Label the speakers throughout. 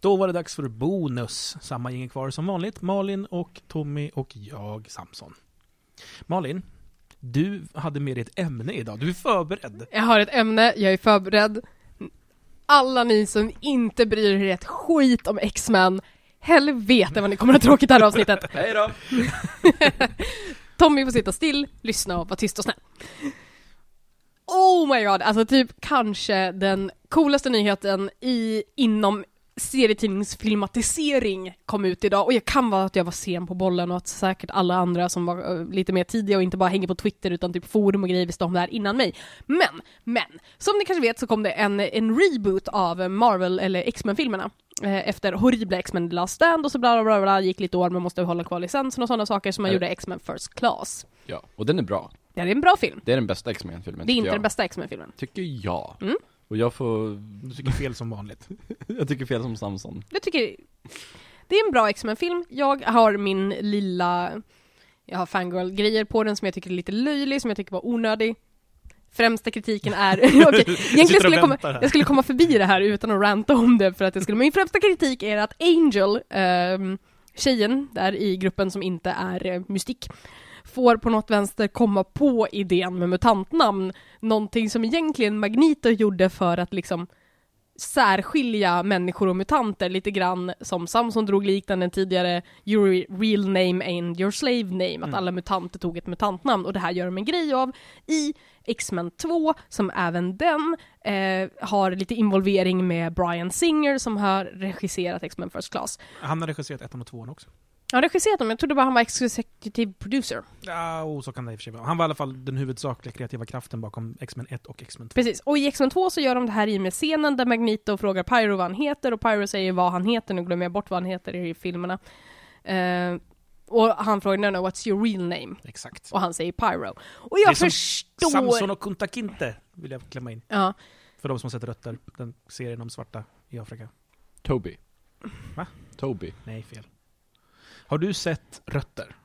Speaker 1: Då var det dags för bonus. Samma gäng kvar som vanligt. Malin och Tommy och jag, Samson. Malin, du hade med dig ett ämne idag. Du är förberedd.
Speaker 2: Jag har ett ämne, jag är förberedd. Alla ni som inte bryr er ett skit om X-Men, helvete vad ni kommer att ha tråkigt det här avsnittet.
Speaker 3: Hej då!
Speaker 2: Tommy får sitta still, lyssna och vara tyst och snäll. Oh my god, alltså typ kanske den coolaste nyheten i, inom serietidningsfilmatisering kom ut idag och jag kan vara att jag var sen på bollen och att säkert alla andra som var eh, lite mer tidiga och inte bara hänger på Twitter utan typ forum och grejer visste om det här innan mig. Men, men, som ni kanske vet så kom det en, en reboot av Marvel eller X-Men-filmerna eh, efter horribla X-Men The Last Stand och så bla bla bla, bla gick lite år men måste hålla kvar licensen och sådana saker som man
Speaker 3: Eh.
Speaker 2: gjorde X-Men First Class.
Speaker 3: Ja, och den är bra.
Speaker 2: Det är en bra film.
Speaker 3: Det är den bästa X-Men-filmen,
Speaker 2: Det är
Speaker 3: tycker
Speaker 2: inte
Speaker 3: jag.
Speaker 2: den bästa X-Men-filmen.
Speaker 3: Tycker jag.
Speaker 2: Mm.
Speaker 3: Och jag får,
Speaker 1: Du tycker fel som vanligt.
Speaker 3: jag tycker fel som Samson.
Speaker 2: Jag tycker det är en bra X-Men-film. Jag har min lilla, jag har fangirl-grejer på den som jag tycker är lite löjlig, som jag tycker var onödig. Främsta kritiken är,
Speaker 1: Sitter
Speaker 2: okej, egentligen
Speaker 1: och
Speaker 2: skulle jag, komma,
Speaker 1: väntar här.
Speaker 2: jag skulle komma förbi det här utan att ranta om det för att jag skulle, min främsta kritik är att Angel, ehm, tjejen där i gruppen som inte är eh, mystik, får på något vänster komma på idén med mutantnamn, någonting som egentligen Magneto gjorde för att liksom särskilja människor och mutanter lite grann som Samson drog liknande tidigare, your real name and your slave name,
Speaker 1: Mm.
Speaker 2: att alla mutanter tog ett mutantnamn och det här gör de en grej av i X-Men 2, som även den eh, har lite involvering med Brian Singer som har regisserat X-Men First Class.
Speaker 1: Han har regisserat ettan och tvåan också.
Speaker 2: Han har regisserat dem, jag trodde bara han var executive producer.
Speaker 1: Ja, och så kan det i och för sig vara. Han var i alla fall den huvudsakliga kreativa kraften bakom X-Men 1 och X-Men 2.
Speaker 2: Precis, och i X-Men 2 så gör de det här i med scenen där Magneto frågar Pyro vad han heter och Pyro säger vad han heter, nu glömmer jag bort vad han heter i filmerna. Eh, och han frågar no, no, what's your real name?
Speaker 1: Exakt.
Speaker 2: Och han säger Pyro. Och
Speaker 1: Det är
Speaker 2: jag
Speaker 1: som
Speaker 2: förstår...
Speaker 1: Samson och Kunta Kinte vill jag klämma in.
Speaker 2: Ja,
Speaker 1: För de som har sett Rötter, den serien om svarta i Afrika.
Speaker 3: Toby.
Speaker 1: Va?
Speaker 3: Toby.
Speaker 1: Nej, fel. Har du sett Rötter?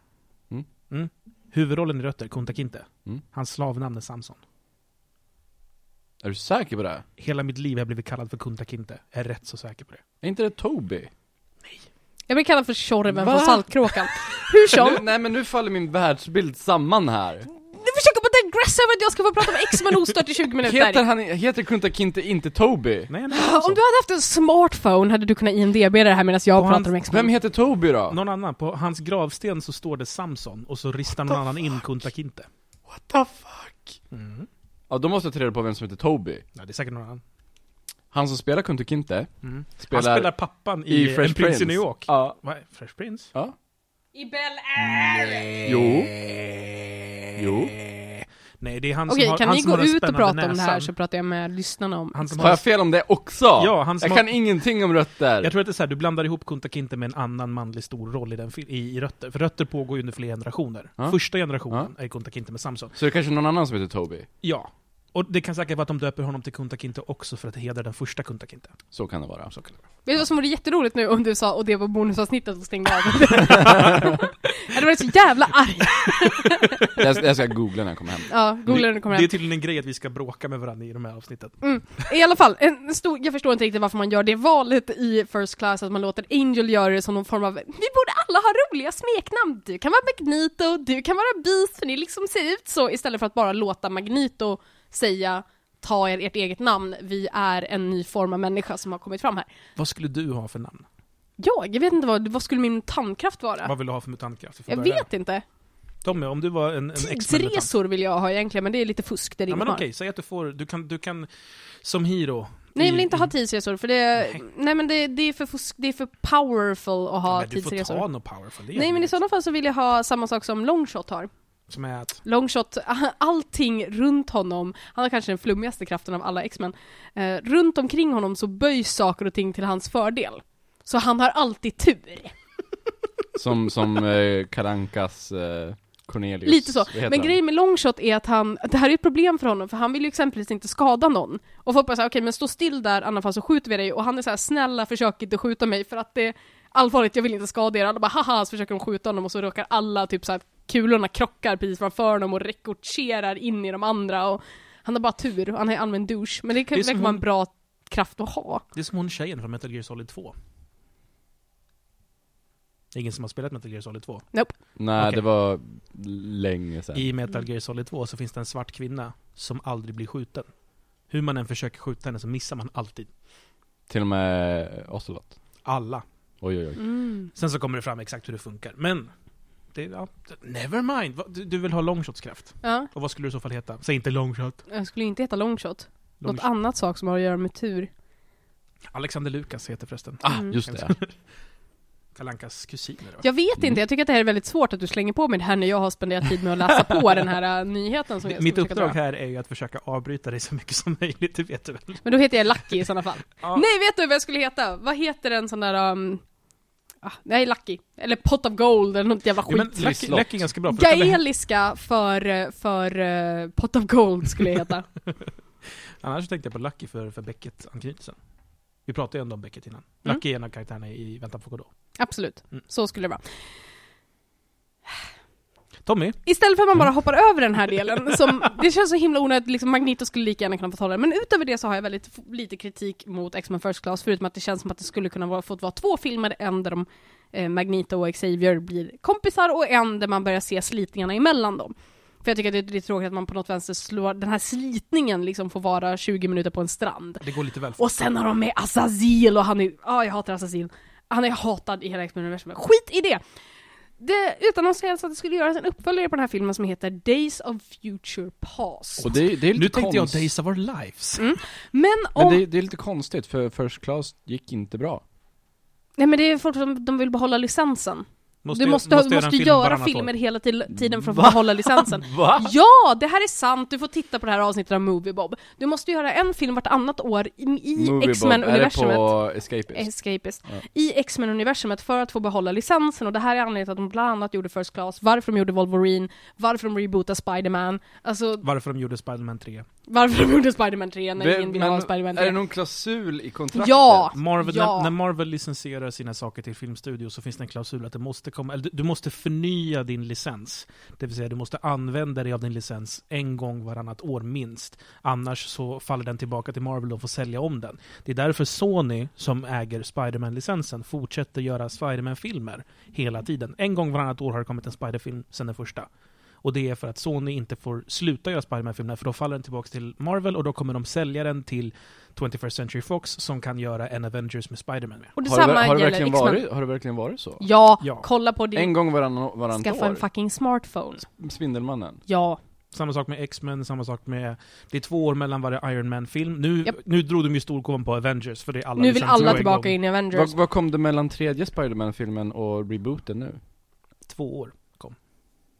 Speaker 3: Mm.
Speaker 1: Huvudrollen i Rötter, Kunta Kinte.
Speaker 3: Mm.
Speaker 1: Hans slavnamn är Samson.
Speaker 3: Är du säker på det?
Speaker 1: Hela mitt liv har jag blivit kallad för Kunta Kinte. Jag är rätt så säker på det.
Speaker 3: Är inte det Toby?
Speaker 2: jag blir kallad för Tjorven
Speaker 3: Va?
Speaker 2: från Saltkråkan. Hur som,
Speaker 3: Nu, nej men nu faller min världsbild samman här.
Speaker 2: du försöker bara digressa över att jag ska få prata om X-Men ostört i 20 minuter.
Speaker 3: Heter han, heter Kunta Kinte inte Toby?
Speaker 1: Nej, nej,
Speaker 2: Om du hade haft en smartphone hade du kunnat IMDB det här medan jag
Speaker 1: På
Speaker 2: pratar
Speaker 1: hans-
Speaker 2: om X-Men.
Speaker 3: Vem heter Toby då?
Speaker 1: Någon annan. På hans gravsten så står det Samson och så ristar någon annan in Kunta Kinte.
Speaker 3: What the fuck?
Speaker 1: Mm.
Speaker 3: Ja, då måste jag ta reda på vem som heter Toby.
Speaker 1: Ja, det är säkert någon annan.
Speaker 3: Han som spelar Kunta Kinte
Speaker 1: Mm.
Speaker 3: spelar,
Speaker 1: Han spelar pappan i,
Speaker 3: i
Speaker 1: En
Speaker 3: Fresh
Speaker 1: prins
Speaker 3: Prince.
Speaker 1: i New York.
Speaker 3: Ja.
Speaker 1: Vad är- Fresh Prince?
Speaker 3: ja.
Speaker 2: I Bel Air!
Speaker 3: Jo. Jo.
Speaker 1: Eh. Nej, det är han
Speaker 2: Okej,
Speaker 1: som har,
Speaker 2: kan
Speaker 1: han
Speaker 2: ni
Speaker 1: som
Speaker 2: gå
Speaker 1: har den
Speaker 2: ut och prata
Speaker 1: spännande
Speaker 2: om det
Speaker 1: näsan.
Speaker 2: här så pratar jag med lyssnarna om
Speaker 1: Han som
Speaker 3: Har
Speaker 1: har,
Speaker 3: jag fel om det också?
Speaker 1: Ja, han som
Speaker 3: jag
Speaker 1: har-
Speaker 3: kan ingenting om rötter.
Speaker 1: jag tror att det är så här, du blandar ihop Kunta Kinte med en annan manlig stor roll i, den, fil- i, i Rötter. För Rötter pågår ju under flera generationer.
Speaker 3: Ja.
Speaker 1: Första generationen är Kunta Kinte med Samson.
Speaker 3: Så det är kanske någon annan som heter Toby?
Speaker 1: Ja. Och det kan säkert vara att de döper honom till Kunta Kinte också för att hedra den första Kunta Kinte.
Speaker 3: Så kan det vara.
Speaker 1: Så kan det vara.
Speaker 2: Vet du vad som vore jätteroligt nu om du sa och det var bonusavsnittet och stängde av? jag hade varit så jävla arg!
Speaker 3: Jag, jag ska googla när jag kommer hem.
Speaker 2: Ja, googla när du kommer
Speaker 1: Det är
Speaker 2: hem.
Speaker 1: tydligen en grej att vi ska bråka med varandra i de här avsnitten.
Speaker 2: I alla fall, en stor, jag förstår inte riktigt varför man gör det valet i First Class, att man låter Angel göra det som någon form av Vi borde alla ha roliga smeknamn! Du kan vara Magneto, du kan vara Beast, för ni liksom ser ut så istället för att bara låta Magneto säga ta er ert eget namn, vi är en ny form av människa som har kommit fram här.
Speaker 1: Vad skulle du ha för namn?
Speaker 2: Jag, jag vet inte vad, vad skulle min tandkraft vara?
Speaker 1: Vad vill du ha för mutantkraft? Vi får
Speaker 2: Jag
Speaker 1: börja
Speaker 2: vet inte.
Speaker 1: där. Tommy, om du var en, en X-Men-mutant.
Speaker 2: Tidsresor vill jag ha egentligen, men det är lite fusk, det är
Speaker 1: Ja,
Speaker 2: ingen
Speaker 1: men
Speaker 2: har.
Speaker 1: okej, säg att du får, du kan, du kan, som Hiro.
Speaker 2: Nej, jag vill
Speaker 1: i-
Speaker 2: inte ha tidsresor, för det, nej. men det, det är för fusk, det är för powerful att ha
Speaker 1: men du får
Speaker 2: tidsresor.
Speaker 1: ta något powerful. Det är
Speaker 2: nej, men i
Speaker 1: inget.
Speaker 2: sådana fall så vill jag ha samma sak som Longshot har.
Speaker 1: Som är att,
Speaker 2: Longshot, allting runt honom, han har kanske den flummigaste kraften av alla X-Men, eh, runt omkring honom så böjs saker och ting till hans fördel. Så han har alltid tur.
Speaker 3: Som, som eh, Karankas eh, Cornelius.
Speaker 2: Lite så.
Speaker 3: Vad heter
Speaker 2: Men
Speaker 3: han?
Speaker 2: grejen med longshot är att han, det här är ett problem för honom, för han vill ju exempelvis inte skada någon. Och folk bara säger okej men stå still där, annars fall så skjuter vi dig. Och han är så här, snälla försök inte skjuta mig för att det, allvarligt jag vill inte skada er. Alla bara haha, så försöker de skjuta honom och så råkar alla typ så här, kulorna krockar precis framför honom och rekorterar in i de andra. Och han har bara tur, han är allmän douche. Men det kan
Speaker 1: Det är
Speaker 2: verkar
Speaker 1: som
Speaker 2: vara
Speaker 1: hon-
Speaker 2: en bra kraft att ha.
Speaker 1: det är som hon tjejen från Metal Gear Solid 2. Det är ingen som har spelat Metal Gear Solid 2.
Speaker 3: Nej,
Speaker 1: Okej.
Speaker 3: det var länge sedan.
Speaker 1: I Metal Gear Solid 2 så finns det en svart kvinna som aldrig blir skjuten. Hur man än försöker skjuta henne så missar man alltid.
Speaker 3: Till och med Ocelot.
Speaker 1: Alla.
Speaker 3: Oj, oj, oj.
Speaker 2: Mm.
Speaker 1: Sen så kommer det fram exakt hur det funkar. Men, det, ja, never mind. Vad- Du, du vill ha longshotskraft.
Speaker 2: Ja,
Speaker 1: Och vad skulle du i så fall heta? Säg inte longshot.
Speaker 2: jag skulle inte heta longshot. Något
Speaker 1: longshot.
Speaker 2: annat sak som har att göra med tur.
Speaker 1: Alexander Lukas heter förresten.
Speaker 3: Ah,
Speaker 2: Mm.
Speaker 3: just det.
Speaker 1: Kalankas kusin eller vad?
Speaker 2: Jag vet
Speaker 3: Mm.
Speaker 2: inte, jag tycker att det här är väldigt svårt att du slänger på mig det här när jag har spenderat tid med att läsa på den här äh, nyheten som jag ska
Speaker 1: Mitt
Speaker 2: försöka
Speaker 1: uppdrag
Speaker 2: dra.
Speaker 1: här är ju att försöka avbryta dig så mycket som möjligt, det vet du väl?
Speaker 2: Men då heter jag Lucky i sådana fall.
Speaker 1: Ja.
Speaker 2: Nej, vet du vad jag skulle heta? Vad heter den sån där... Um... Ah, nej, Lucky. Eller Pot of Gold eller något jävla
Speaker 1: Jo, men
Speaker 2: skit.
Speaker 1: Lucky,
Speaker 3: Slott.
Speaker 1: Lucky är ganska bra för då kan det hända-
Speaker 2: Gaeliska för, eh, för eh, Pot of Gold skulle jag heta.
Speaker 1: Annars så tänkte jag på Lucky för, för Becket-anknytelsen. Vi pratade ju ändå om Becket innan.
Speaker 2: Mm.
Speaker 1: Lucky är en av karaktärerna i Väntan på Godot.
Speaker 2: Absolut,
Speaker 1: Mm.
Speaker 2: så skulle det vara.
Speaker 1: Tommy,
Speaker 2: Istället för att man bara hoppar över den här delen, som, det känns så himla onödigt, liksom Magneto skulle lika gärna kunna få ta den. Men utöver det så har jag väldigt f- lite kritik mot X-Men First Class, förutom att det känns som att det skulle kunna vara, fått vara två filmer, en där de, eh, Magneto och Xavier blir kompisar och en där man börjar se slitningarna emellan dem. För jag tycker att det, det är tråkigt att man på något vänster slår, den här slitningen liksom får vara 20 minuter på en strand.
Speaker 1: det går lite väl fort.
Speaker 2: Och sen har de med Azazel och han är, ja jag hatar Azazel. Han är hatad i hela X-Men-universum. Skit i det! det utannonserades att det skulle göras en uppföljare på den här filmen som heter Days of Future Past.
Speaker 3: Och det, det är lite
Speaker 1: Nu tänkte jag
Speaker 3: konst-
Speaker 1: Days of Our Lives.
Speaker 2: Mm. Men om...
Speaker 3: Men det, det är lite konstigt för First Class gick inte bra.
Speaker 2: Nej men det är folk som de vill behålla licensen. du
Speaker 1: jag-
Speaker 2: måste, måste,
Speaker 1: jag
Speaker 2: måste
Speaker 1: en film
Speaker 2: göra
Speaker 1: varannat år?
Speaker 2: filmer hela till, tiden för att
Speaker 3: Va?
Speaker 2: behålla licensen.
Speaker 3: Va?
Speaker 2: Ja, det här är sant. Du får titta på det här avsnittet av Movie Bob. Du måste göra en film vartannat år i, i
Speaker 3: Movie Bob, är det
Speaker 2: X-Men-universumet.
Speaker 3: på Escapist?
Speaker 2: Escapist.
Speaker 3: Ja.
Speaker 2: I X-Men-universumet för att få behålla licensen och det här är anledningen till att de bland annat gjorde First Class, varför de gjorde Wolverine, varför de rebootade Spider-Man, alltså
Speaker 1: Varför de gjorde Spider-Man 3.
Speaker 2: varför de gjorde Spider-Man 3 när
Speaker 3: Ve-
Speaker 2: ingen vill
Speaker 3: men
Speaker 2: ha en Spider-Man
Speaker 3: Är det
Speaker 2: 3.
Speaker 3: någon klausul i kontraktet? Mm.
Speaker 2: Ja!
Speaker 1: Marvel,
Speaker 2: Ja.
Speaker 1: när, när Marvel licensierar sina saker till filmstudio så finns det en klausul att det måste komma, eller du, du måste förnya din licens. Det vill säga, du måste använda dig av din licens en gång varannat år minst. Annars så faller den tillbaka till Marvel och får sälja om den. Det är därför Sony, som äger Spider-Man-licensen, fortsätter göra Spider-Man-filmer hela tiden. En gång varannat år har det kommit en Spider-film sedan den första. Och det är för att Sony inte får sluta göra Spider-Man-filmerna, för då faller den tillbaka till Marvel och då kommer de sälja den till 21st Century Fox som kan göra en Avengers med Spider-Man med.
Speaker 2: Och
Speaker 3: Har det,
Speaker 2: detsamma
Speaker 3: har, det
Speaker 2: gäller
Speaker 3: verkligen
Speaker 2: X-Men.
Speaker 3: varit, har det verkligen varit så?
Speaker 2: Ja,
Speaker 1: Ja.
Speaker 2: kolla på
Speaker 3: En
Speaker 2: din,
Speaker 3: gång varann, varannat
Speaker 2: skaffa en
Speaker 3: år?
Speaker 2: fucking smartphone.
Speaker 3: Spindelmannen?
Speaker 2: Ja.
Speaker 1: Samma sak med X-Men, samma sak med... Det är två år mellan varje Iron Man-film. Nu,
Speaker 2: Japp.
Speaker 1: nu drog de ju storkovan på Avengers, för det är alla
Speaker 2: Nu vill
Speaker 1: licenser på
Speaker 2: alla
Speaker 1: en
Speaker 2: tillbaka
Speaker 1: gång.
Speaker 2: in i Avengers.
Speaker 3: Vad, vad kom det mellan tredje Spiderman-filmen och rebooten nu?
Speaker 1: Två år.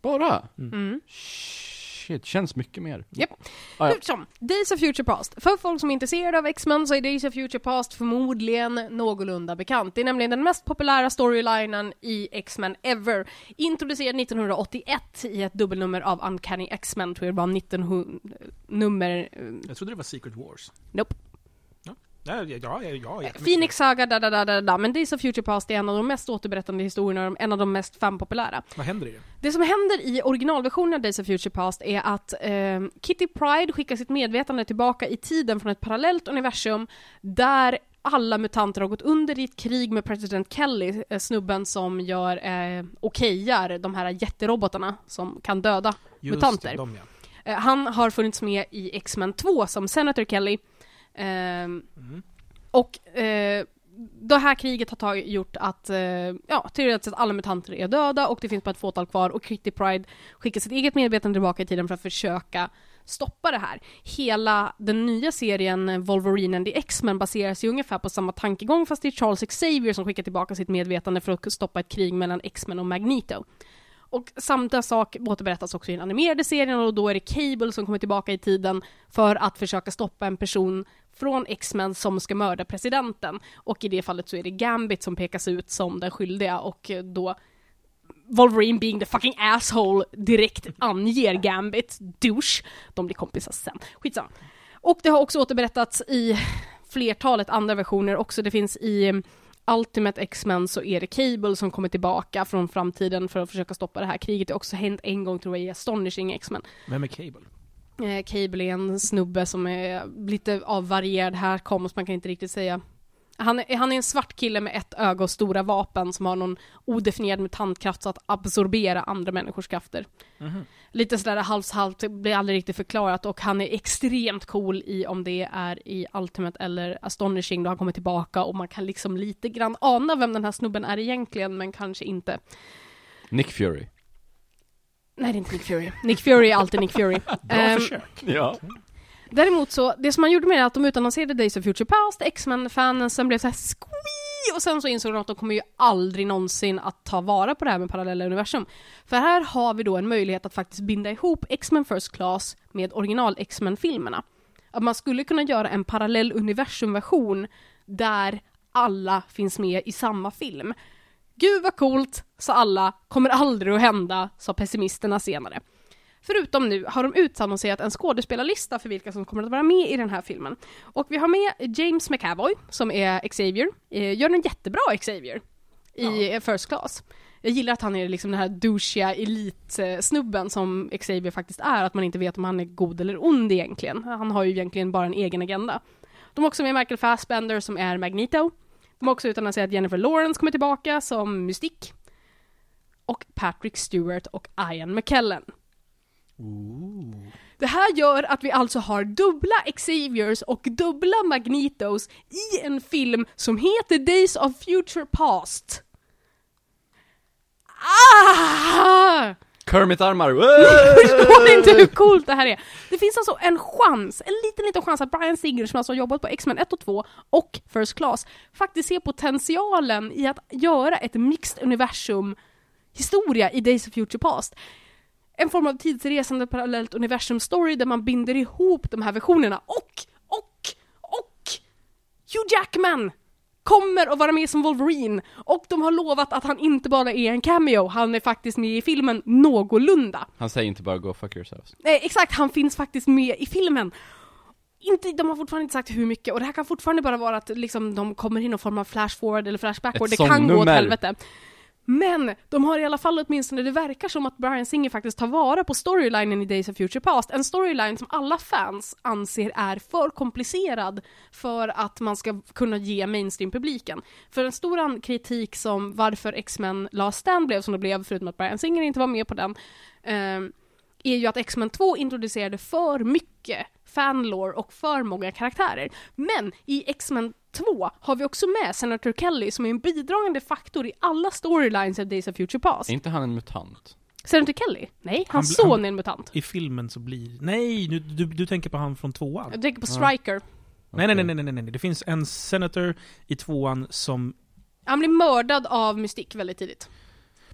Speaker 3: Bara?
Speaker 2: Mm.
Speaker 3: Shit, känns mycket mer.
Speaker 2: Japp.
Speaker 3: Ah, ja.
Speaker 2: Hur Typ som, Days of Future Past. För folk som är intresserade av X-Men så är Days of Future Past förmodligen någorlunda bekant. Det är nämligen den mest populära storylinen i X-Men ever. Introducerad 1981 i ett dubbelnummer av Uncanny X-Men, tror jag det var 1900 nummer... eh,
Speaker 1: Jag trodde det var Secret Wars.
Speaker 2: Nope.
Speaker 1: Ja, ja, ja, ja jättemycket.
Speaker 2: Äh, Phoenix Saga, da, da, da, da, da. Men Days of Future Past är en av de mest återberättande historierna, en av de mest fanpopulära.
Speaker 1: Vad händer i det?
Speaker 2: Det som händer i originalversionen av Days of Future Past är att eh, Kitty Pride skickar sitt medvetande tillbaka i tiden från ett parallellt universum där alla mutanter har gått under i ett krig med president Kelly, eh, snubben som gör eh, okejar, de här jätterobotarna som kan döda
Speaker 1: Just
Speaker 2: Mutanter.
Speaker 1: det, De, ja.
Speaker 2: Eh, Han har funnits med i X-Men 2 som Senator Kelly. Ehm,
Speaker 1: Mm.
Speaker 2: Och eh, det här kriget har tag- gjort att, eh, ja, teoretiskt sett alla mutanter är döda och det finns bara ett fåtal kvar och Kitty Pride skickar sitt eget medvetande tillbaka i tiden för att försöka stoppa det här. Hela den nya serien eh, Wolverine and the X-Men baseras ju ungefär på samma tankegång fast det är Charles Xavier som skickar tillbaka sitt medvetande för att stoppa ett krig mellan X-Men och Magneto. Och samma sak återberättas också i den animerade serien och då är det Cable som kommer tillbaka i tiden för att försöka stoppa en person från X-Men som ska mörda presidenten. Och i det fallet så är det Gambit som pekas ut som den skyldiga och eh, då Wolverine being the fucking asshole direkt anger Gambit, douche. De blir kompisar sen. Skitsamma. Och det har också återberättats i flertalet andra versioner också. Det finns i eh, Ultimate X-Men så är det Cable som kommer tillbaka från framtiden för att försöka stoppa det här kriget. Det har också hänt en gång tror jag i Astonishing X-Men.
Speaker 1: Vem är Cable?
Speaker 2: Eh, Cable är en snubbe som är lite avvarierad härkomst, man kan inte riktigt säga Han är, han är en svart kille med ett öga och stora vapen som har någon odefinierad mutantkraft så att absorbera andra människors krafter.
Speaker 1: Mhm.
Speaker 2: Lite sådär halvt halvt, det blir aldrig riktigt förklarat och han är extremt cool i om det är i Ultimate eller Astonishing då han kommer tillbaka och man kan liksom lite grann ana vem den här snubben är egentligen men kanske inte.
Speaker 3: Nick Fury.
Speaker 2: Nej, det är inte Nick Fury. Nick Fury är alltid Nick Fury.
Speaker 1: Bra
Speaker 2: Ehm,
Speaker 1: försök.
Speaker 3: Ja.
Speaker 2: Däremot så, det som man gjorde med det är att de utannonserade Days of Future Past, X-Men-fanen, sen blev det så här squee, och sen så insåg de att de kommer ju aldrig någonsin att ta vara på det här med parallella universum. För här har vi då en möjlighet att faktiskt binda ihop X-Men First Class med original X-Men-filmerna. Att man skulle kunna göra en parallell universumversion där alla finns med i samma film. Gud vad coolt, sa alla, kommer aldrig att hända, sa pessimisterna senare. Förutom nu har de utannonserat en skådespelarlista för vilka som kommer att vara med i den här filmen. Och vi har med James McAvoy, som är Xavier, eh, gör en jättebra Xavier i eh, First Class. Jag gillar att han är liksom den här douchiga elitsnubben som Xavier faktiskt är, att man inte vet om han är god eller ond egentligen. Han har ju egentligen bara en egen agenda. De har också med Michael Fassbender som är Magneto. De har också utan att säga att Jennifer Lawrence kommer tillbaka som Mystik. Och Patrick Stewart och Ian McKellen.
Speaker 1: Ooh.
Speaker 2: Det här gör att vi alltså har dubbla Xaviers och dubbla Magnetos i en film som heter Days of Future Past. Ah!
Speaker 3: Kermit-armar!
Speaker 2: Förstår ni inte hur coolt det här är? Det finns alltså en chans, en liten, liten chans att Brian Singer som alltså har jobbat på X-Men 1 och 2 och First Class faktiskt ser potentialen i att göra ett mixed universum historia i Days of Future Past. En form av tidsresande parallellt universum story där man binder ihop de här versionerna och, och, och Hugh Jackman kommer att vara med som Wolverine och de har lovat att han inte bara är en cameo, han är faktiskt med i filmen någorlunda.
Speaker 3: Han säger inte bara 'Go fuck yourselves'
Speaker 2: Nej, exakt, han finns faktiskt med i filmen. Inte, de har fortfarande inte sagt hur mycket och det här kan fortfarande bara vara att liksom, de kommer i någon form av flash forward eller flash backward.
Speaker 3: Ett
Speaker 2: Det kan gå åt
Speaker 3: sångnummer.
Speaker 2: helvete. Men de har i alla fall åtminstone, det verkar som att Brian Singer faktiskt tar vara på storylinen i Days of Future Past. En storyline som alla fans anser är för komplicerad för att man ska kunna ge mainstream-publiken. För en stor an- kritik som varför X-Men Last Stand blev som det blev, förutom att Brian Singer inte var med på den, ehm, är ju att X-Men 2 introducerade för mycket fanlore och för många karaktärer. Men i X-Men 2 har vi också med Senator Kelly som är en bidragande faktor i alla storylines av Days of Future Past.
Speaker 3: Är inte han en mutant?
Speaker 2: Senator Kelly? Nej,
Speaker 1: Han
Speaker 2: hans
Speaker 1: bl- han-
Speaker 2: son är en mutant.
Speaker 1: I filmen så blir... Nej, nu, du, du tänker på han från tvåan.
Speaker 2: Jag tänker på Striker.
Speaker 1: Nej, nej, nej, nej, nej, nej, nej. Det finns en senator i tvåan som...
Speaker 2: Han blir mördad av Mystik väldigt tidigt.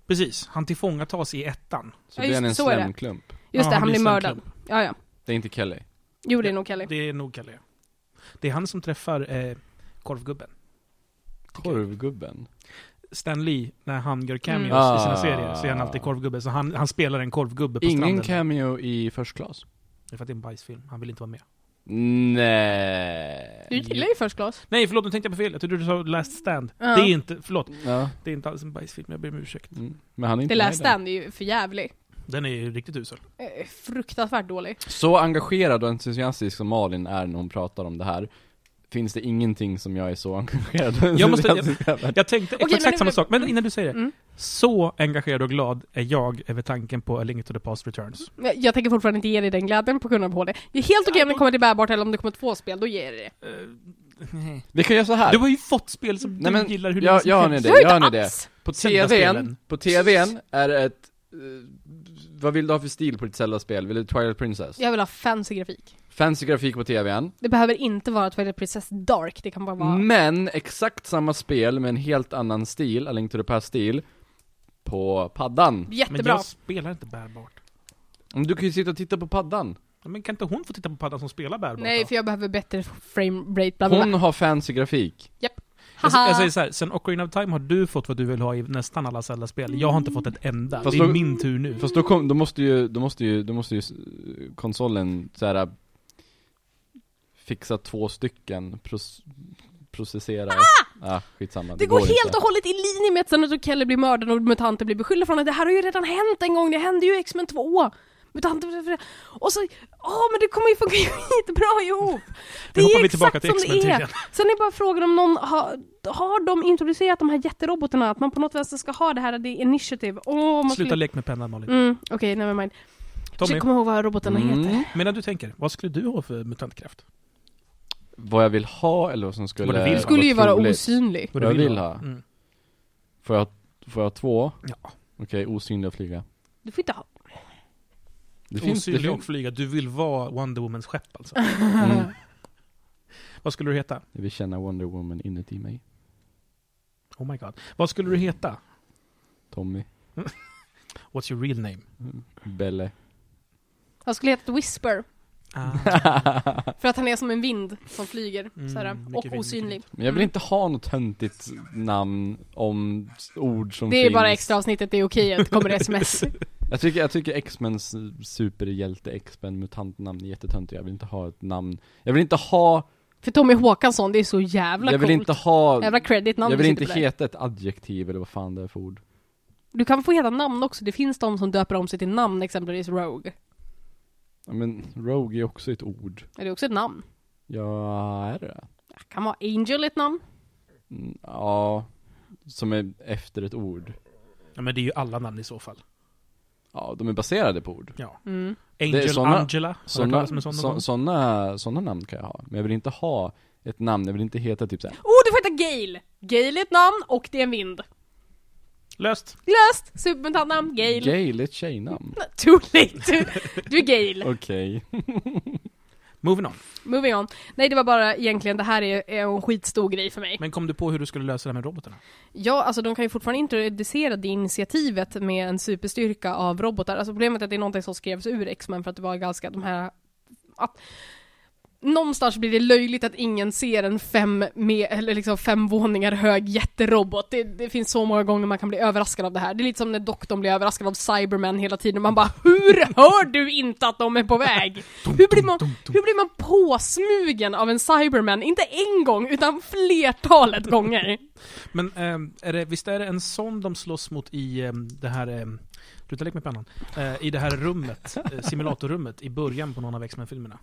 Speaker 1: Precis, han tillfångatas i ettan.
Speaker 2: Ja,
Speaker 3: Så det är
Speaker 2: just
Speaker 3: han en
Speaker 2: så är det.
Speaker 3: slemklump.
Speaker 2: Just
Speaker 1: Ja,
Speaker 2: det,
Speaker 1: han
Speaker 2: han
Speaker 1: blir
Speaker 2: blir mördad.
Speaker 1: slumklump.
Speaker 2: Ja, ja.
Speaker 3: Det är inte Kelly.
Speaker 2: Jo, det är
Speaker 1: Ja.
Speaker 2: nog Kelly.
Speaker 1: Det är nog Kalle. Det är han som träffar eh, korvgubben.
Speaker 3: Korvgubben.
Speaker 1: Stan Lee, när han gör cameos
Speaker 3: Mm.
Speaker 1: i sina
Speaker 3: Ah.
Speaker 1: serier, så är han alltid korvgubbe. Så han, han spelar en korvgubbe på
Speaker 3: Ingen
Speaker 1: stranden.
Speaker 3: cameo i First Class?
Speaker 1: Det är för att det är en bajsfilm, han vill inte vara med.
Speaker 3: Nej.
Speaker 2: Du gillar ju First Class.
Speaker 1: Nej, förlåt, nu tänkte jag på fel. Jag trodde du sa Last Stand.
Speaker 2: Ja.
Speaker 1: Det är inte, förlåt,
Speaker 3: Ja.
Speaker 1: det är inte alls en bajsfilm, jag ber om ursäkt.
Speaker 3: Mm. Men han är inte
Speaker 2: Det
Speaker 3: med
Speaker 2: läste
Speaker 3: där.
Speaker 2: han, det är ju för jävlig.
Speaker 1: Den är ju riktigt usel.
Speaker 2: Eh, Fruktansvärt dålig.
Speaker 3: Så engagerad och entusiastisk som Malin är när hon pratar om det här, finns det ingenting som jag är så engagerad och
Speaker 1: Jag måste-
Speaker 3: entusiastisk över.
Speaker 1: Jag tänkte
Speaker 2: Okej, men
Speaker 1: exakt
Speaker 2: nu-
Speaker 1: samma sak, men innan du säger det.
Speaker 2: Mm.
Speaker 1: Så engagerad och glad är jag över tanken på A Link to the Past Returns.
Speaker 2: Jag jag tänker fortfarande inte ge dig den glädjen på grund av HD. Det är helt okej om det kommer till bärbart eller om det kommer två spel, då ger jag dig det.
Speaker 1: Eh, nej.
Speaker 3: Vi kan göra så här.
Speaker 1: Du har ju fått spel som
Speaker 3: Mm. Nej,
Speaker 1: du
Speaker 3: men
Speaker 1: gillar hur
Speaker 3: jag-
Speaker 1: länge som
Speaker 3: jag har en
Speaker 1: helst.
Speaker 3: idé.
Speaker 2: Gör
Speaker 3: gör ni
Speaker 2: inte
Speaker 3: det?
Speaker 2: alls!
Speaker 3: På
Speaker 1: Zelda-spelen.
Speaker 3: tvn, på tvn är det ett, eh, vad vill du ha för stil på ditt Zelda-spel? Vill du Twilight Princess?
Speaker 2: Jag vill ha fancy grafik.
Speaker 3: Fancy grafik på tvn,
Speaker 2: Det behöver inte vara Twilight Princess Dark, det kan bara vara...
Speaker 3: men exakt samma spel med en helt annan stil, A Link to the Past-stil, på paddan.
Speaker 1: Men
Speaker 2: Jättebra.
Speaker 1: jag spelar inte bärbart.
Speaker 3: Men Du kan ju sitta och titta på paddan.
Speaker 1: Men kan inte hon få titta på paddan som spelar bärbart?
Speaker 2: Nej,
Speaker 1: då?
Speaker 2: för jag behöver bättre frame rate, bla bla bla.
Speaker 3: Hon har fancy grafik.
Speaker 1: jag,
Speaker 2: Haha.
Speaker 1: jag säger så här, sen Ocarina of Time har du fått vad du vill ha i nästan alla Zelda-spel. Jag har inte fått ett enda.
Speaker 3: Fast
Speaker 1: det är
Speaker 3: då-
Speaker 1: min tur nu.
Speaker 3: Fast då, kom, då måste ju, då måste ju, då måste ju s- konsolen såhär fixa två stycken, pros, processera. Ah! skitsamma.
Speaker 2: Det går
Speaker 3: inte.
Speaker 2: helt och hållet i linje med att Senator Kelly blir mördad och mutanter blir beskyllda för honom. Det här har ju redan hänt en gång, det hände ju i X-Men 2! mutanter. för- för- Och så, ja men det kommer ju funka jättebra ihop! Det
Speaker 1: Nu hoppar
Speaker 2: är
Speaker 1: vi tillbaka
Speaker 2: exakt
Speaker 1: till
Speaker 2: som
Speaker 1: X-Men
Speaker 2: det är.
Speaker 1: tydligen.
Speaker 2: Sen är bara frågan om någon har, har de introducerat de här jätterobotarna? Att man på något vänster ska ha det här, det är initiative. Åh, man
Speaker 1: Sluta
Speaker 2: skulle...
Speaker 1: leka med pennan Malin.
Speaker 2: Mm, okej, never mind.
Speaker 1: Tommy,
Speaker 2: Försök komma ihåg vad robotarna
Speaker 3: Mm.
Speaker 2: heter.
Speaker 1: medan du tänker, vad skulle du ha för mutantkraft?
Speaker 3: Vad jag vill ha eller vad som skulle
Speaker 1: Vad du vill.
Speaker 3: vara
Speaker 2: Skulle ju vara
Speaker 3: troligt.
Speaker 2: osynlig.
Speaker 1: Vad
Speaker 3: Jag
Speaker 1: du
Speaker 3: vill ha.
Speaker 1: Mm.
Speaker 3: Får jag, får jag två?
Speaker 1: Ja.
Speaker 3: Okej, osynliga flyga.
Speaker 2: Du får inte ha...
Speaker 3: Det
Speaker 1: Osynlig
Speaker 3: det
Speaker 1: och flyga, du vill vara Wonder Womans skepp alltså.
Speaker 3: Mm.
Speaker 1: Vad skulle du heta?
Speaker 3: Jag vill känna Wonder Woman inuti mig.
Speaker 1: Oh my god. Vad skulle du heta?
Speaker 3: Tommy.
Speaker 1: What's your real name?
Speaker 3: Belle.
Speaker 2: Han skulle heta Whisper,
Speaker 1: Ah,
Speaker 2: för att han är som en vind som flyger.
Speaker 1: Mm,
Speaker 2: såhär,
Speaker 1: mycket vind,
Speaker 2: och
Speaker 1: mycket
Speaker 2: osynlig.
Speaker 1: vind.
Speaker 3: Men jag vill inte ha något töntigt namn om s- ord som
Speaker 2: Det är
Speaker 3: finns.
Speaker 2: bara extra avsnittet, det är okej att det kommer sms.
Speaker 3: Jag tycker, jag tycker X-Mens superhjälte, X-Men, mutantnamn är jättetöntiga. Jag vill inte ha ett namn. Jag vill inte ha,
Speaker 2: För Tommy Håkansson, det är så jävla
Speaker 3: jag vill
Speaker 2: coolt.
Speaker 3: inte ha,
Speaker 2: Jävla credit namn
Speaker 3: jag vill
Speaker 2: du
Speaker 3: inte
Speaker 2: sitter på där.
Speaker 3: heta ett adjektiv eller vad fan det är för ord.
Speaker 2: Du kan få heta namn också, det finns de som döper om sig till namn, exempelvis Rogue.
Speaker 3: Ja, Men Rogue är också ett ord.
Speaker 2: Är det också ett namn?
Speaker 3: Ja, är det det?
Speaker 2: Kan vara Angel ett namn?
Speaker 3: Mm, Ja, som är efter ett ord.
Speaker 1: ja, men det är ju alla namn i så fall.
Speaker 3: Ja, de är baserade på ord.
Speaker 1: Ja.
Speaker 2: Mm.
Speaker 1: Angel,
Speaker 3: såna-
Speaker 1: Angela, har du hört
Speaker 3: Sådana
Speaker 1: talas om en sån någon
Speaker 3: så,
Speaker 1: gång?
Speaker 3: såna, såna namn kan jag ha, men jag vill inte ha ett namn, jag vill inte heta typ såhär
Speaker 2: Oh, du får heta Gale! Gale är ett namn och det är en vind.
Speaker 1: Löst!
Speaker 2: Löst! Supermutantnamn, Gale.
Speaker 3: Gail är ett tjejnamn
Speaker 2: Too late! Du är Gale.
Speaker 3: Okej
Speaker 1: Moving on.
Speaker 2: Moving on. Nej, det var bara egentligen, det här är, är en skitstor grej för mig.
Speaker 1: Men kom du på hur du skulle lösa det här med robotarna?
Speaker 2: Ja, alltså de kan ju fortfarande introducera det initiativet med en superstyrka av robotar. Alltså problemet är att det är någonting som skrevs ur X-Men för att det var ganska de här... Att, någonstans blir det löjligt att ingen ser en fem, med, eller liksom fem våningar hög jätterobot. Det, det finns så många gånger man kan bli överraskad av det här. Det är lite som när doktorn blir överraskad av Cybermen hela tiden. Man bara HUR HÖR DU INTE ATT DE är på väg? Hur blir man, hur blir man påsmugen av en Cyberman? Inte en gång, utan flertalet gånger.
Speaker 1: Men ehm, är det, visst är det en sån de slåss mot i ehm, det här... ehm, Sluta leka med pennan. Eh, I det här rummet, eh, simulatorrummet, i början på någon av X-Men-filmerna.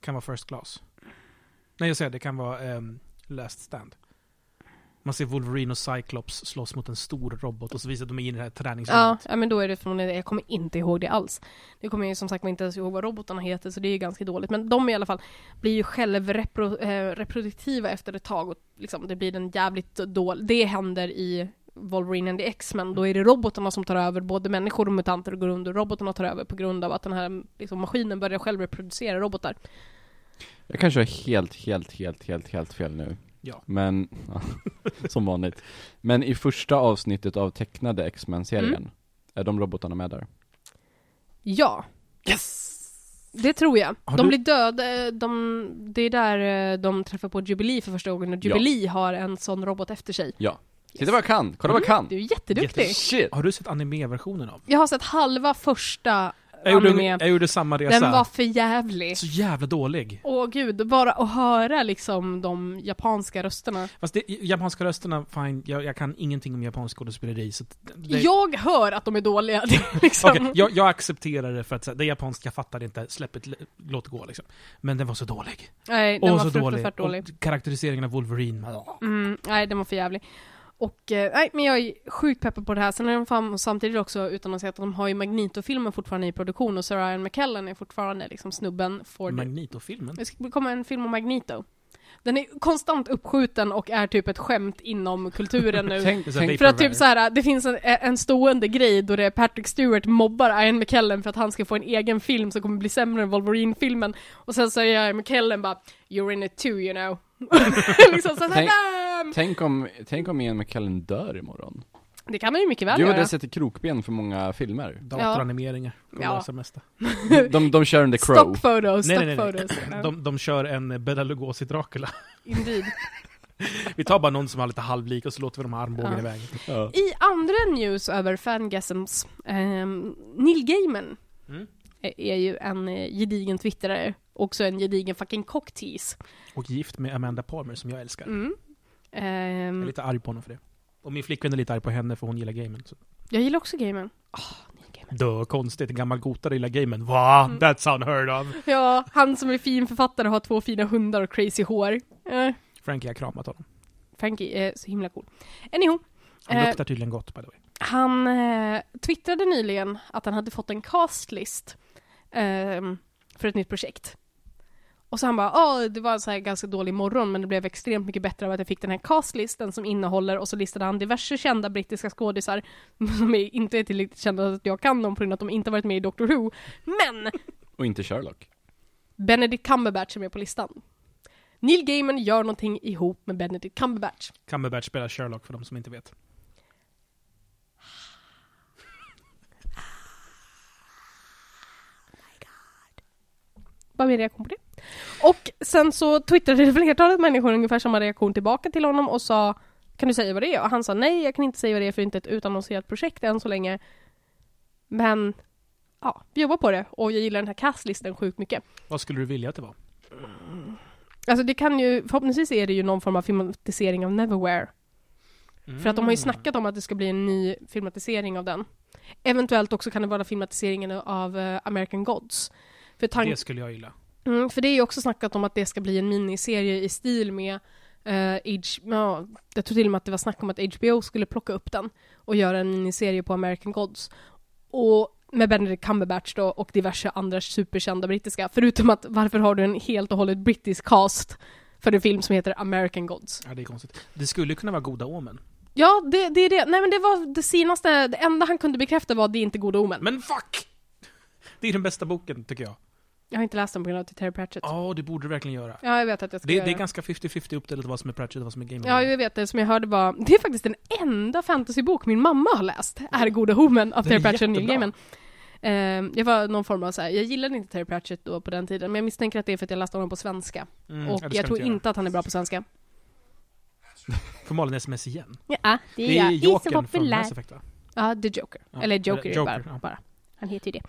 Speaker 1: Kan vara First Class. Nej, jag säger det kan vara ehm, Last Stand. Man ser Wolverine och Cyclops slåss mot en stor robot och så visar de in i det här
Speaker 2: Ja,
Speaker 1: träningsrummet.
Speaker 2: ja, men då är det förmodligen Jag kommer inte ihåg det alls. Det kommer jag ju som sagt inte ens ihåg vad robotarna heter, så det är ju ganska dåligt. Men de i alla fall blir ju självreproduktiva efter ett tag och liksom, det blir en jävligt dålig... Det händer i Wolverine and the X-Men, då är det robotarna som tar över, både människor och mutanter går under, robotarna tar över på grund av att den här liksom, maskinen börjar själv reproducera robotar.
Speaker 3: Jag kanske har helt, helt, helt, helt, helt fel nu
Speaker 1: Ja.
Speaker 3: Men, ja, som vanligt Men i första avsnittet av tecknade X-Men-serien
Speaker 2: Mm.
Speaker 3: Är de robotarna med där?
Speaker 2: Ja. Det tror jag.
Speaker 1: Har
Speaker 2: de
Speaker 1: du-
Speaker 2: blir döda, de, det är där eh, de träffar på Jubilee för första gången och
Speaker 3: Ja.
Speaker 2: Jubilee har en sån robot efter sig. Mm,
Speaker 3: Ja Titta vad jag kan, kolla vad jag
Speaker 2: Du
Speaker 3: kan!
Speaker 2: är jätteduktig.
Speaker 1: Jätte-
Speaker 3: Shit!
Speaker 1: Har du sett anime-versionen av?
Speaker 2: Jag har sett halva första
Speaker 1: Jag gjorde,
Speaker 2: anime.
Speaker 1: jag gjorde samma resa.
Speaker 2: Den var för jävlig.
Speaker 1: Så jävla dålig.
Speaker 2: Åh gud, bara att höra liksom de japanska rösterna.
Speaker 1: Fast det, japanska rösterna, fine, jag, jag kan ingenting om japansk skådespeleri så att det,
Speaker 2: Jag hör att de är dåliga. Det är liksom.
Speaker 1: Okej, jag, jag accepterar det för att så här, det är japanskt, jag fattar det inte, släpp det, låt gå liksom. Men den var så dålig.
Speaker 2: Nej, den
Speaker 1: Åh,
Speaker 2: var
Speaker 1: så dålig.
Speaker 2: fruktansvärt dålig.
Speaker 1: Och karaktäriseringen av Wolverine, ja.
Speaker 2: Mm, nej, den var för jävlig. Och, eh, nej, men jag är sjukt peppad på det här. Sen är de fan, samtidigt också, utan att säga att de har ju Magneto-filmen fortfarande i produktion och Sir Ian McKellen är fortfarande liksom snubben för det.
Speaker 1: Magneto-filmen.
Speaker 2: Det ska komma en film om Magneto. Den är konstant uppskjuten och är typ ett skämt inom kulturen nu.
Speaker 3: Tänk,
Speaker 1: Det är så
Speaker 3: tänk,
Speaker 2: För att
Speaker 1: Paperware.
Speaker 2: typ så här, det finns en, en stående grej då det är Patrick Stewart mobbar Ian McKellen för att han ska få en egen film som kommer bli sämre än Wolverine-filmen. Och sen säger Ian McKellen bara “You're in it too, you know”. liksom så här,
Speaker 3: Tänk-
Speaker 2: "Damn!"
Speaker 3: tänk om, tänk om Ian McKellen dör imorgon
Speaker 2: Det kan man ju mycket väl
Speaker 3: Jo,
Speaker 2: göra.
Speaker 3: det sätter krokben för många filmer
Speaker 1: Datoranimeringar. De
Speaker 2: Ja.
Speaker 1: löser det mesta.
Speaker 3: De, de kör under Crow
Speaker 2: Stock photos,
Speaker 1: Nej,
Speaker 2: stock
Speaker 1: nej, nej, nej.
Speaker 2: photos. Ja,
Speaker 1: De, de kör en eh, Bela Lugosi-Dracula.
Speaker 2: Indeed.
Speaker 1: Vi tar bara någon som har lite halvlik och så låter vi dem ha armbågen
Speaker 2: Ja.
Speaker 1: i vägen.
Speaker 3: Ja.
Speaker 2: I andra news över fangasms, ehm, Neil Gaiman
Speaker 1: Mm.
Speaker 2: är- är ju en eh, gedigen twittrare, också en gedigen fucking cocktease.
Speaker 1: Och gift med Amanda Palmer som jag älskar.
Speaker 2: Mm.
Speaker 1: Jag är
Speaker 2: Ehm,
Speaker 1: lite arg på honom för det. Och min flickvän är lite arg på henne för hon gillar gamen. Så.
Speaker 2: Jag gillar också gamen. Ah, ni är gamen.
Speaker 1: Dö, konstigt. En gammal gotare gillar gamen. Va?
Speaker 2: Mm.
Speaker 1: That's unheard of.
Speaker 2: Ja, han som är fin författare har två fina hundar och crazy hår. Eh,
Speaker 1: Frankie har kramat honom.
Speaker 2: Frankie är så himla cool. Anyhow.
Speaker 1: Han
Speaker 2: Eh.
Speaker 1: luktar tydligen gott by the way.
Speaker 2: Han eh, twittrade nyligen att han hade fått en castlist ehm, för ett nytt projekt. Och så han bara, ja det var en så här ganska dålig morgon men det blev extremt mycket bättre av att jag fick den här castlisten som innehåller, och så listade han diverse kända brittiska skådisar som är- inte är tillräckligt kända att jag kan dem på grund av att de inte varit med i Doctor Who. Men!
Speaker 3: Och inte Sherlock.
Speaker 2: Benedict Cumberbatch är med på listan. Neil Gaiman gör någonting ihop med Benedict Cumberbatch.
Speaker 1: Cumberbatch spelar Sherlock för de som inte vet.
Speaker 2: Vad min reaktion på det. Och sen så twittrade flertalet människor ungefär samma reaktion tillbaka till honom och sa Kan du säga vad det är? Och han sa nej, jag kan inte säga vad det är för det är inte ett utannonserat projekt än så länge. Men ja, vi jobbar på det och jag gillar den här castlisten sjukt mycket.
Speaker 1: Vad skulle du vilja att det var?
Speaker 2: Alltså det kan ju, förhoppningsvis är det ju någon form av filmatisering av Neverwhere. Mm. För att de har
Speaker 1: Mm.
Speaker 2: ju snackat om att det ska bli en ny filmatisering av den. Eventuellt också kan det vara filmatiseringen av eh, American Gods. För tanken
Speaker 1: Det skulle jag gilla.
Speaker 2: Mm, för det är ju också snackat om att det ska bli en miniserie i stil med eh, H- ja, jag tror till och med att det var snack om att HBO skulle plocka upp den och göra en miniserie på American Gods. Och med Benedict Cumberbatch då och diverse andra superkända brittiska. Förutom att varför har du en helt och hållet brittisk cast för en film som heter American Gods?
Speaker 1: Ja, det är konstigt. Det skulle kunna vara goda omen.
Speaker 2: Ja, det, det är det. Nej men det var det senaste, det enda han kunde bekräfta var att det är inte goda omen.
Speaker 1: Men fuck! Det är den bästa boken, tycker jag.
Speaker 2: Jag har inte läst den på grund av att det är Terry Pratchett. Ja,
Speaker 1: Ja, det borde du verkligen göra.
Speaker 2: jag vet att jag ska
Speaker 1: Det,
Speaker 2: göra
Speaker 1: det är ganska 50-50 uppdelat vad som är Pratchett och vad som är Game
Speaker 2: Ja,
Speaker 1: Over.
Speaker 2: jag vet det. Som jag hörde var, det är faktiskt den enda fantasybok min mamma har läst, är Goda Homen av
Speaker 1: Den
Speaker 2: Terry
Speaker 1: Mm. är
Speaker 2: Pratchett och Neil
Speaker 1: jättebra.
Speaker 2: Gaiman. Ehm, jag var någon form av så här, jag gillade inte Terry Pratchett då på den tiden, men jag misstänker att det är för att jag läste honom på svenska.
Speaker 1: Mm, ja,
Speaker 2: och
Speaker 1: det ska
Speaker 2: jag
Speaker 1: du
Speaker 2: tror
Speaker 1: göra.
Speaker 2: inte att han är bra på svenska.
Speaker 1: Får Malin sms igen?
Speaker 2: Ja,
Speaker 1: Det är Jokern från Mass Effect, va?
Speaker 2: Ja, The Joker.
Speaker 1: Ja,
Speaker 2: Eller
Speaker 1: eller
Speaker 2: Joker,
Speaker 1: Joker,
Speaker 2: bara,
Speaker 1: ja.
Speaker 2: bara. Han heter ju det.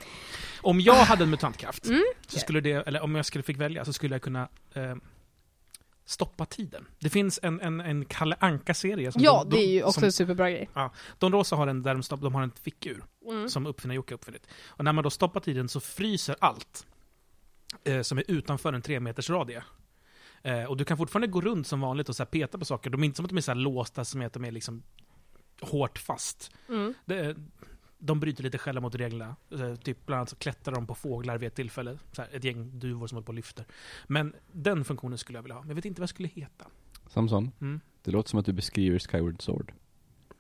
Speaker 1: Om jag hade en mutantkraft,
Speaker 2: Mm.
Speaker 1: så skulle det, eller om jag skulle fick välja, så skulle jag kunna eh, stoppa tiden. Det finns en, en, en Kalle Anka-serie. som
Speaker 2: Ja,
Speaker 1: de- de-
Speaker 2: det är ju också
Speaker 1: Som,
Speaker 2: en superbra grej.
Speaker 1: de rosa har en där de, stopp, de har en fickur.
Speaker 2: Mm.
Speaker 1: som uppfinnar-Jocke har uppfunnit. Och när man då stoppar tiden så fryser allt eh, som är utanför en tre meters radie. Eh, och du kan fortfarande gå runt som vanligt och så här peta på saker. De är inte som att de är så här låsta, som är att de är liksom hårt fast.
Speaker 2: Mm.
Speaker 1: Det, de bryter lite själva mot reglerna. Eh, typ bland annat så klättrar de på fåglar vid ett tillfälle. Så här, ett gäng duvor som håller på och lyfter. Men den funktionen skulle jag vilja ha. Men jag vet inte vad jag skulle heta.
Speaker 3: Samson,
Speaker 1: Mm.
Speaker 3: det låter som att du beskriver Skyward Sword.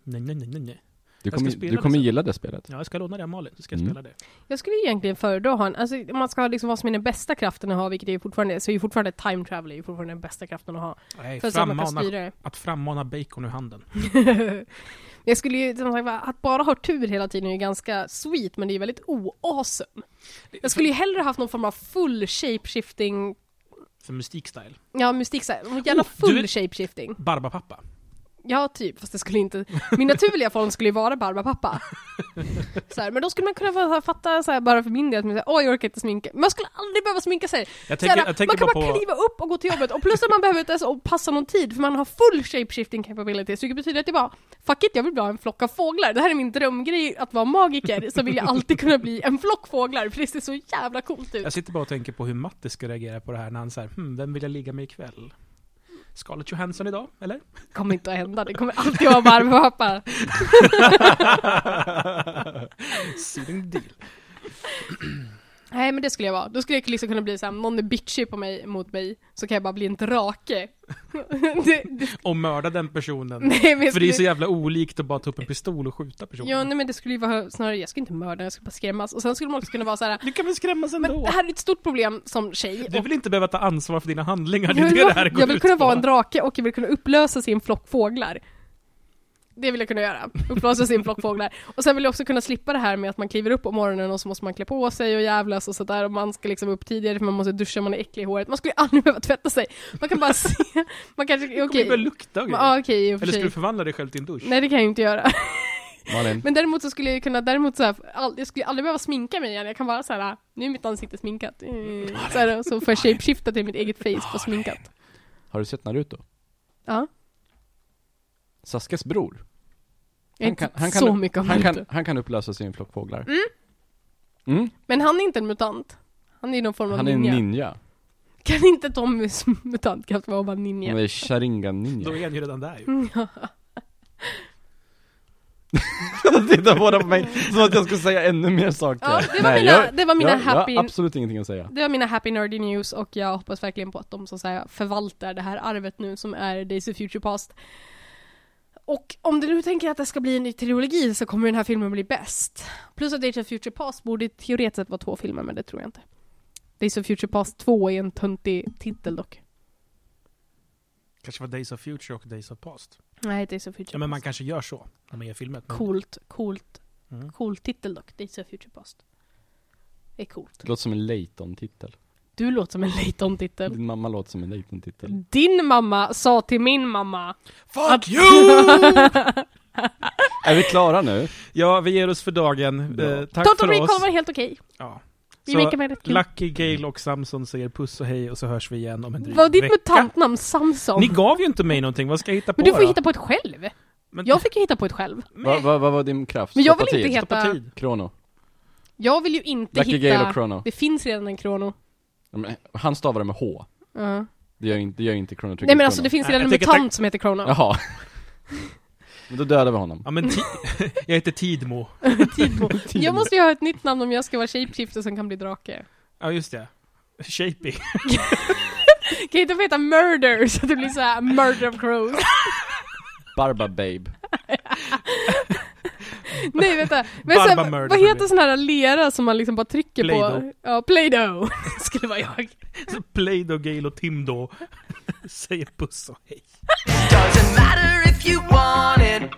Speaker 1: Nej, nej, nej, nej, nej.
Speaker 3: Du
Speaker 1: ska
Speaker 3: kommer,
Speaker 1: spela
Speaker 3: du
Speaker 1: det
Speaker 3: kommer
Speaker 1: sen.
Speaker 3: gilla det spelet.
Speaker 1: Ja, jag ska låna det av Malin, så ska jag
Speaker 3: Mm.
Speaker 1: spela det.
Speaker 2: Jag skulle egentligen föredra att ha en, alltså om man ska ha liksom vad som är den bästa kraften att ha, vilket det ju fortfarande är, så är ju fortfarande time travel är ju fortfarande den bästa kraften att ha.
Speaker 1: Nej,
Speaker 2: För att man kan
Speaker 1: frammana,
Speaker 2: styra det.
Speaker 1: att frammana bacon ur handen.
Speaker 2: jag skulle ju, som sagt, att bara ha tur hela tiden är ju ganska sweet, men det är ju väldigt o-awesome. Jag skulle ju hellre haft någon form av full shapeshifting,
Speaker 1: För mystikstyle.
Speaker 2: ja mystik såhär, gärna
Speaker 1: Oh, du
Speaker 2: full
Speaker 1: är-
Speaker 2: shapeshifting.
Speaker 1: Barbapappa.
Speaker 2: Ja, typ, fast det skulle inte, min naturliga form skulle ju vara Barbapapa. Så här, men då skulle man kunna få- fatta så här, bara för min del, att man säger, åh jag orkar inte sminka, man skulle aldrig behöva sminka sig.
Speaker 1: Jag
Speaker 2: Såhär,
Speaker 1: tänker, jag tänker
Speaker 2: man kan
Speaker 1: bara
Speaker 2: bara
Speaker 1: på...
Speaker 2: kliva upp och gå till jobbet och plus att man behöver inte ens passa någon tid för man har full shapeshifting capabilities vilket betyder att det bara Fuck it, jag vill vara en flock av fåglar. Det här är min drömgrej att vara magiker så vill jag alltid kunna bli en flock fåglar för det ser så jävla coolt ut.
Speaker 1: Jag sitter bara och tänker på hur Matti ska reagera på det här när han säger hm, vem vill jag ligga med ikväll? Scarlett Johansson idag, eller?
Speaker 2: Det kommer inte att hända, det kommer alltid vara varmhappa.
Speaker 1: Sealing deal.
Speaker 2: Nej men det skulle jag vara. Då skulle jag liksom kunna bli såhär, någon är bitchy på mig, mot mig så kan jag bara bli en drake. det, det,
Speaker 1: Och mörda den personen.
Speaker 2: nej, men jag
Speaker 1: För det är så
Speaker 2: skulle,
Speaker 1: jävla olikt att bara ta upp en pistol och skjuta personen.
Speaker 2: ja, nej men det skulle ju vara snarare, jag skulle inte mörda, jag skulle bara skrämmas. Och sen skulle man också kunna vara så här.
Speaker 1: Du kan väl skrämmas
Speaker 2: men
Speaker 1: ändå?
Speaker 2: det här är ett stort problem som tjej.
Speaker 1: Du vill inte behöva ta ansvar för dina handlingar, det
Speaker 2: jag
Speaker 1: är
Speaker 2: vill,
Speaker 1: det det
Speaker 2: vara-
Speaker 1: här går
Speaker 2: jag vill
Speaker 1: ut
Speaker 2: kunna
Speaker 1: på.
Speaker 2: vara en drake och jag vill kunna upplösa sin flock fåglar. Det vill jag kunna göra. Upplösa sin flock fåglar. Och sen vill jag också kunna slippa det här med att man kliver upp på morgonen och så måste man klä på sig och jävlas och sådär och man ska liksom upp tidigare för man måste duscha, man är äcklig i håret. Man skulle ju aldrig behöva tvätta sig. Man kan bara se. Man kanske,
Speaker 1: Det kommer
Speaker 2: okej.
Speaker 1: ju börja lukta och grejer.
Speaker 2: Ja, okej, i och för
Speaker 1: Eller ska
Speaker 2: sig.
Speaker 1: du förvandla dig själv till en dusch?
Speaker 2: Nej det kan jag ju inte göra.
Speaker 3: Malin,
Speaker 2: Men däremot så skulle jag ju kunna, däremot så här, all, jag skulle aldrig behöva sminka mig igen. Jag kan bara så här, nu är mitt ansikte sminkat. Eh, Så, här, och så får jag shapeshifta till mitt eget face på sminkat.
Speaker 3: har du sett Naruto?
Speaker 2: Ja.
Speaker 3: Saskas bror
Speaker 2: Jag
Speaker 3: Han
Speaker 2: vet
Speaker 3: kan-
Speaker 2: inte
Speaker 3: han kan-
Speaker 2: så mycket om
Speaker 3: Han
Speaker 2: mutor.
Speaker 3: kan, han kan upplösa sin flock fåglar. Mm.
Speaker 2: Men han är inte en mutant. Han är någon form av
Speaker 3: Han är en
Speaker 2: ninja.
Speaker 3: ninja.
Speaker 2: Kan inte Tommys mutantkraft vara att vara ninja?
Speaker 3: Han är sharingan ninja.
Speaker 1: Då är han ju redan där ju.
Speaker 2: Mm.
Speaker 3: De tittar båda på mig som att jag ska säga ännu mer saker.
Speaker 2: Ja, det var mina,
Speaker 3: jag,
Speaker 2: det var mina
Speaker 3: jag,
Speaker 2: happy...
Speaker 3: jag har absolut ingenting att säga.
Speaker 2: det var mina happy nerdy news och jag hoppas verkligen på att de som säger förvaltar det här arvet nu som är Days of Future Past. Och om du nu tänker att det ska bli en ny trilogi så kommer den här filmen bli bäst. Plus att Days of Future Past borde teoretiskt sett vara två filmer men det tror jag inte. Days of Future Past 2 är en töntig titel dock.
Speaker 1: Kanske var Days of Future och Days of Past.
Speaker 2: Nej, Days of Future
Speaker 1: Ja, men man
Speaker 2: Past.
Speaker 1: kanske gör så när man gör filmen. Men-
Speaker 2: Coolt, coolt,
Speaker 1: Mm.
Speaker 2: cool titel dock. Days of Future Past. Det är coolt.
Speaker 3: Det låter som en Layton-titel.
Speaker 2: Du låter som en Layton-titel.
Speaker 3: Din mamma låter som en Layton-titel.
Speaker 2: Din mamma sa till min mamma
Speaker 1: Fuck you!
Speaker 3: Är vi klara nu?
Speaker 1: ja, vi ger oss för dagen.
Speaker 3: Bra.
Speaker 1: Eh, tack
Speaker 2: Totten
Speaker 1: för
Speaker 2: Recall
Speaker 1: oss.
Speaker 2: var helt okej.
Speaker 1: Ja.
Speaker 2: Vi
Speaker 1: Så,
Speaker 2: leker med rätt kul.
Speaker 1: Lucky, Gale och Samson säger puss och hej och så hörs vi igen om en dryg
Speaker 2: Vad är ditt
Speaker 1: vecka.
Speaker 2: mutantnamn Samson?
Speaker 1: Ni gav ju inte mig någonting, vad ska jag hitta på
Speaker 2: Men du får
Speaker 1: då?
Speaker 2: hitta på ett själv.
Speaker 1: Men,
Speaker 2: Jag fick ju hitta på ett själv.
Speaker 3: Vad va, va var din kraft?
Speaker 2: Men jag
Speaker 3: Stoppa
Speaker 2: vill inte
Speaker 3: tid.
Speaker 1: Stoppa
Speaker 2: heta...
Speaker 1: tid.
Speaker 3: Krono.
Speaker 2: Jag vill ju inte
Speaker 3: Lucky Gale
Speaker 2: hitta...
Speaker 3: och Chrono.
Speaker 2: Det finns redan en Krono.
Speaker 3: Ja, men Han stavar det med H.
Speaker 2: Ja.
Speaker 3: Det gör inte, det gör inte Chrono Trigger
Speaker 2: Nej men alltså det
Speaker 3: Chrono.
Speaker 2: finns
Speaker 1: Nej,
Speaker 2: redan en
Speaker 1: jag tycker
Speaker 2: mutant som heter Krono.
Speaker 3: Jaha. men då dödar vi honom.
Speaker 1: Ja men ti- jag heter Tidmo.
Speaker 2: Tidbo. Jag måste ju ha ett nytt namn om jag ska vara shapeshifter som kan bli drake.
Speaker 1: Ja just det. Shapey.
Speaker 2: Kan jag inte få heta Murder så att det blir såhär Murder of Crows?
Speaker 3: Barba Babe.
Speaker 2: Nej vänta, men
Speaker 1: Barba
Speaker 2: sen,
Speaker 1: Murder
Speaker 2: vad
Speaker 1: blir
Speaker 2: heter
Speaker 1: det.
Speaker 2: sån här lera som man liksom bara trycker på?
Speaker 1: Play-Doh.
Speaker 2: Ja, Play-Doh skulle vara jag.
Speaker 1: Play-Doh, Gale och Timdo säger puss och hej.
Speaker 4: Doesn't matter if you want it